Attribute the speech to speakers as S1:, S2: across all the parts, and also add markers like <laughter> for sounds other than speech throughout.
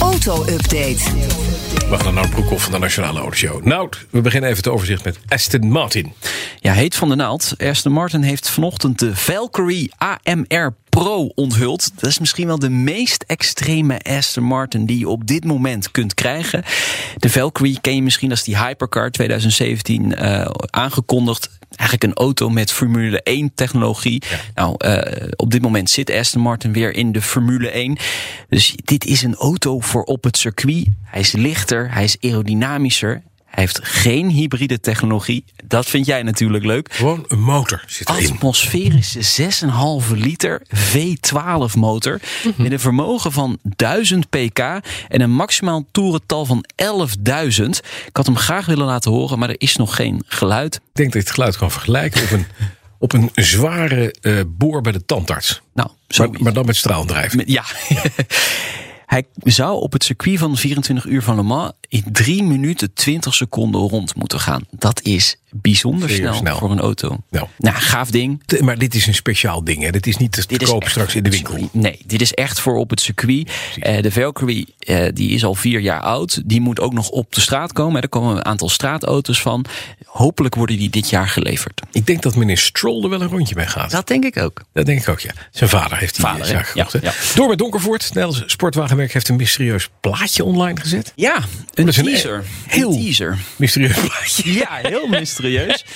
S1: Auto-update.
S2: We gaan naar Nout Broekhoff van de Nationale Autoshow. Nout, we beginnen even het overzicht met Aston Martin.
S3: Ja, heet van de naald. Aston Martin heeft vanochtend de Valkyrie AMR Pro onthuld. Dat is misschien wel de meest extreme Aston Martin die je op dit moment kunt krijgen. De Valkyrie ken je misschien als die hypercar 2017 eh, aangekondigd. Eigenlijk een auto met Formule 1 technologie. Nou, eh, op dit moment zit Aston Martin weer in de Formule 1. Dus dit is een auto voor op het circuit. Hij is lichter, hij is aerodynamischer. Hij heeft geen hybride technologie. Dat vind jij natuurlijk leuk.
S2: Gewoon een motor zit erin.
S3: Atmosferische 6,5 liter V12 motor. Met een vermogen van 1000 pk en een maximaal toerental van 11.000. Ik had hem graag willen laten horen, maar er is nog geen geluid.
S2: Ik denk dat je het geluid kan vergelijken
S3: <laughs>
S2: op een, op een zware eh, boor bij de tandarts.
S3: Nou, zo.
S2: Maar, maar dan met straaldrijf.
S3: Met- Ja. <laughs> Hij zou op het circuit van 24 uur van Le Mans in 3 minuten 20 seconden rond moeten gaan. Dat is bijzonder
S2: Zeer
S3: snel,
S2: snel.
S3: voor een auto.
S2: Nou.
S3: nou, gaaf ding.
S2: T- Maar dit is een speciaal ding. Hè. Dit is niet te
S3: Dit is
S2: koop
S3: echt
S2: straks
S3: voor
S2: in de
S3: het
S2: winkel.
S3: circuit. Nee, dit is echt voor op het circuit. Eh, de Valkyrie eh, die is al vier jaar oud. Die moet ook nog op de straat komen. hè. Er komen een aantal straatauto's van. Hopelijk worden die dit jaar geleverd.
S2: Ik denk dat meneer Stroll er wel een rondje mee gaat. Dat,
S3: denk ik ook.
S2: denk ik ook, ja. Zijn vader heeft die
S3: Vader,
S2: eh, zaak
S3: hè? Ja,
S2: gekocht. hè.
S3: ja.
S2: Door met Donkervoort. Het Nederlands sportwagenmerk heeft een mysterieus plaatje online gezet.
S3: Ja, een
S2: Dat is een e-
S3: teaser. Een
S2: heel- <laughs>
S3: teaser.
S2: Mysterieus plaatje.
S3: Ja, heel mysterieus.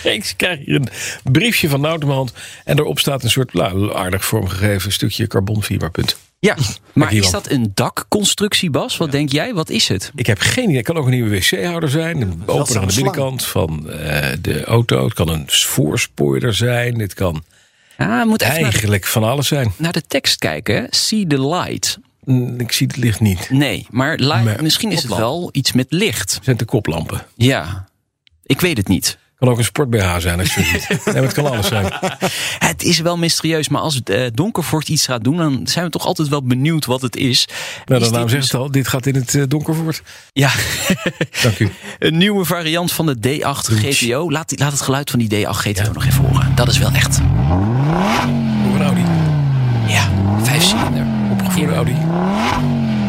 S2: Ik krijg hier een briefje van Noudeman. En daarop staat een soort nou, aardig vormgegeven stukje carbonfiberpunt.
S3: <laughs> Ja, maar
S2: hier
S3: is
S2: wel.
S3: dat een dakconstructie, Bas? Wat denk jij? Wat is het?
S2: Ik heb geen idee. Het kan ook een nieuwe wc-houder zijn. Een opener aan de
S4: slang.
S2: binnenkant van eh, de auto. Het kan een voorspoiler zijn. Het kan
S3: Ah, we moeten even naar de,
S2: eigenlijk van alles zijn.
S3: naar de tekst kijken. hè. See the light.
S2: Mm, Ik zie het licht niet.
S3: Nee, maar light,
S2: Nee,
S3: misschien is het wel iets met licht.
S2: Het zijn de koplampen.
S3: Ja, ik weet het niet.
S2: kan ook een sport-BH zijn als je het ziet. Nee, maar het kan alles zijn. Nou,
S3: Het is wel mysterieus, maar als eh, Donkervoort iets gaat doen, dan zijn we toch altijd wel benieuwd wat het is.
S2: Nou,
S3: Is
S2: de naam
S3: dit
S2: zegt het al. Dit gaat in het eh, donker voort.
S3: Ja, <laughs>
S2: Dank u.
S3: een nieuwe variant van de D8 GTO. Laat, die- laat het geluid van die D8 GTO nog even horen. Dat is wel echt.
S2: Voor een Audi.
S3: Ja, vijf cilinder.
S2: Voor een Audi.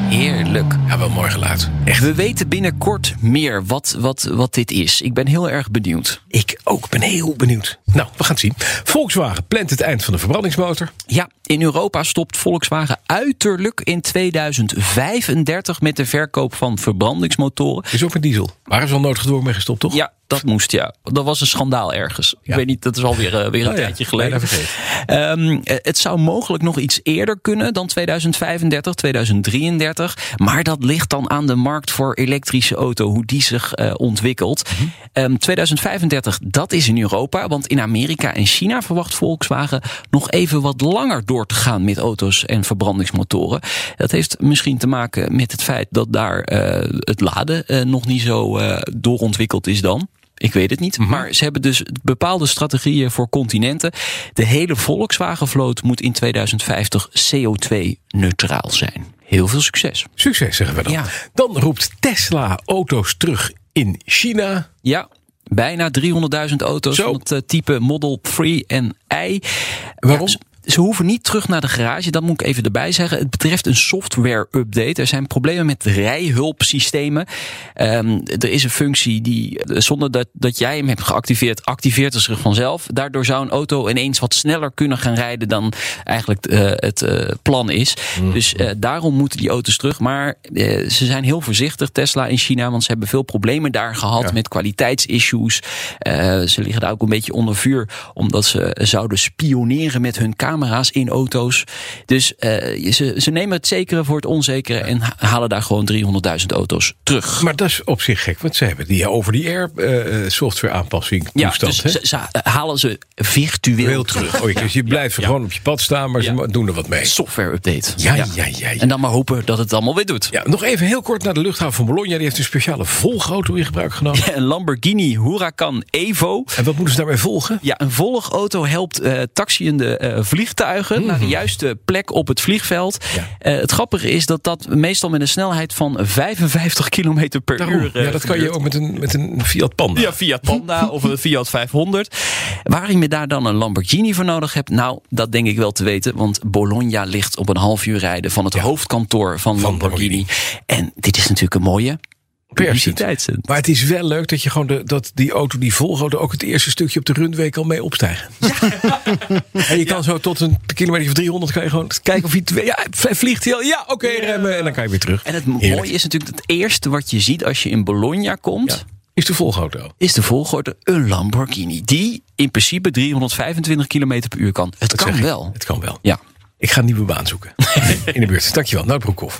S3: Heerlijk.
S2: Ja, wel mooi geluid.
S3: Echt. We weten binnenkort meer wat, wat, wat dit is. Ik ben heel erg benieuwd.
S2: Ik ook. Ben heel benieuwd. Nou, we gaan het zien. Volkswagen plant het eind van de verbrandingsmotor.
S3: Ja, in Europa stopt Volkswagen uiterlijk in 2035 met de verkoop van verbrandingsmotoren.
S2: Is ook een diesel. Maar is al noodgedwongen mee gestopt, toch?
S3: Ja, dat moest, ja. Dat was een schandaal ergens. Ik weet niet, dat is alweer eh, weer een
S2: Oh ja,
S3: tijdje geleden.
S2: bijna vergeten.
S3: Ehm, eh, het zou mogelijk nog iets eerder kunnen dan 2035, 2033. Maar dat ligt dan aan de markt voor elektrische auto, hoe die zich eh, ontwikkelt.
S2: Mhm.
S3: Ehm, 2035, dat is in Europa. Want in Amerika en China verwacht Volkswagen nog even wat langer door te gaan met auto's en verbrandingsmotoren. Dat heeft misschien te maken met het feit dat daar eh, het laden eh, nog niet zo eh, doorontwikkeld is dan. Ik weet het niet. Maar ze hebben dus bepaalde strategieën voor continenten. De hele Volkswagenvloot moet in 2050 CO2-neutraal zijn. Heel veel succes.
S2: Succes, zeggen we dan.
S3: Ja.
S2: Dan roept Tesla auto's terug in China.
S3: Ja, bijna 300.000 auto's
S2: Zo.
S3: van het eh, type Model 3 en I.
S2: Waarom?
S3: Ja, ze- ze hoeven niet terug naar de garage, dat moet ik even erbij zeggen. Het betreft een software-update. Er zijn problemen met rijhulpsystemen. Ehm, er is een functie die, eh, zonder dat, dat jij hem hebt geactiveerd, activeert het zich vanzelf. Daardoor zou een auto ineens wat sneller kunnen gaan rijden dan eigenlijk eh, het eh, plan is. Dus eh, daarom moeten die auto's terug. Maar eh, ze zijn heel voorzichtig, Tesla in China, want ze hebben veel problemen daar gehad met kwaliteitsissues. Eh, ze liggen daar ook een beetje onder vuur, omdat ze zouden spioneren met hun camera camera's in auto's. Dus eh, ze, ze nemen het zekere voor het onzekere en ha- halen daar gewoon 300.000 auto's terug.
S2: Maar dat is op zich gek, want ze hebben die over-the-air eh, software aanpassing
S3: Ja,
S2: toestand.
S3: dus
S2: hè?
S3: ze, ze halen ze virtueel
S2: Heel terug. Oh, dus je blijft gewoon op je pad staan, maar ze
S3: Ja.
S2: ma- doen er wat mee.
S3: Software update.
S2: Ja, ja, ja, ja.
S3: En dan maar hopen dat het allemaal weer doet.
S2: Ja, nog even heel kort naar de luchthaven van Bologna. Die heeft een speciale volgauto in gebruik genomen.
S3: <laughs> Een Lamborghini Huracan Evo.
S2: En wat moeten ze daarmee volgen?
S3: Ja, een volgauto helpt eh taxiënde eh, vliegtuigen naar de juiste plek op het vliegveld.
S2: Mhm. Ja.
S3: Eh, het grappige is dat dat meestal met een snelheid van 55 km per uur. eh,
S2: ja, dat kan je
S3: gebeurt.
S2: ook met een, met een Fiat Panda.
S3: Ja, Fiat
S2: <laughs>
S3: Panda of een Fiat 500. Waarom je daar dan een Lamborghini voor nodig hebt, nou, dat denk ik wel te weten. Want Bologna ligt op een half uur rijden van het hoofdkantoor van, Lamborghini. En dit is natuurlijk een mooie
S2: Persend.
S3: publiciteitszin.
S2: Maar het is wel leuk dat je gewoon de, dat die auto, die volgauto, ook het eerste stukje op de runway kan mee opstijgen. <laughs> en je kan zo tot een kilometer of 300 kan je gewoon kijken of hij twee, ja, hij vliegt heel, ja, oké, remmen en dan kan je weer terug.
S3: En het mooie
S2: Heerlijk.
S3: is natuurlijk het eerste wat je ziet als je in Bologna komt.
S2: is de volgauto.
S3: is de volgorde een Lamborghini. Die in principe 325 km per uur kan. Het
S2: Dat zeg
S3: kan
S2: ik.
S3: wel.
S2: Het kan wel.
S3: Ja.
S2: Ik ga een nieuwe baan zoeken
S3: <laughs>
S2: in de buurt. Dankjewel, Nout Broekhoff.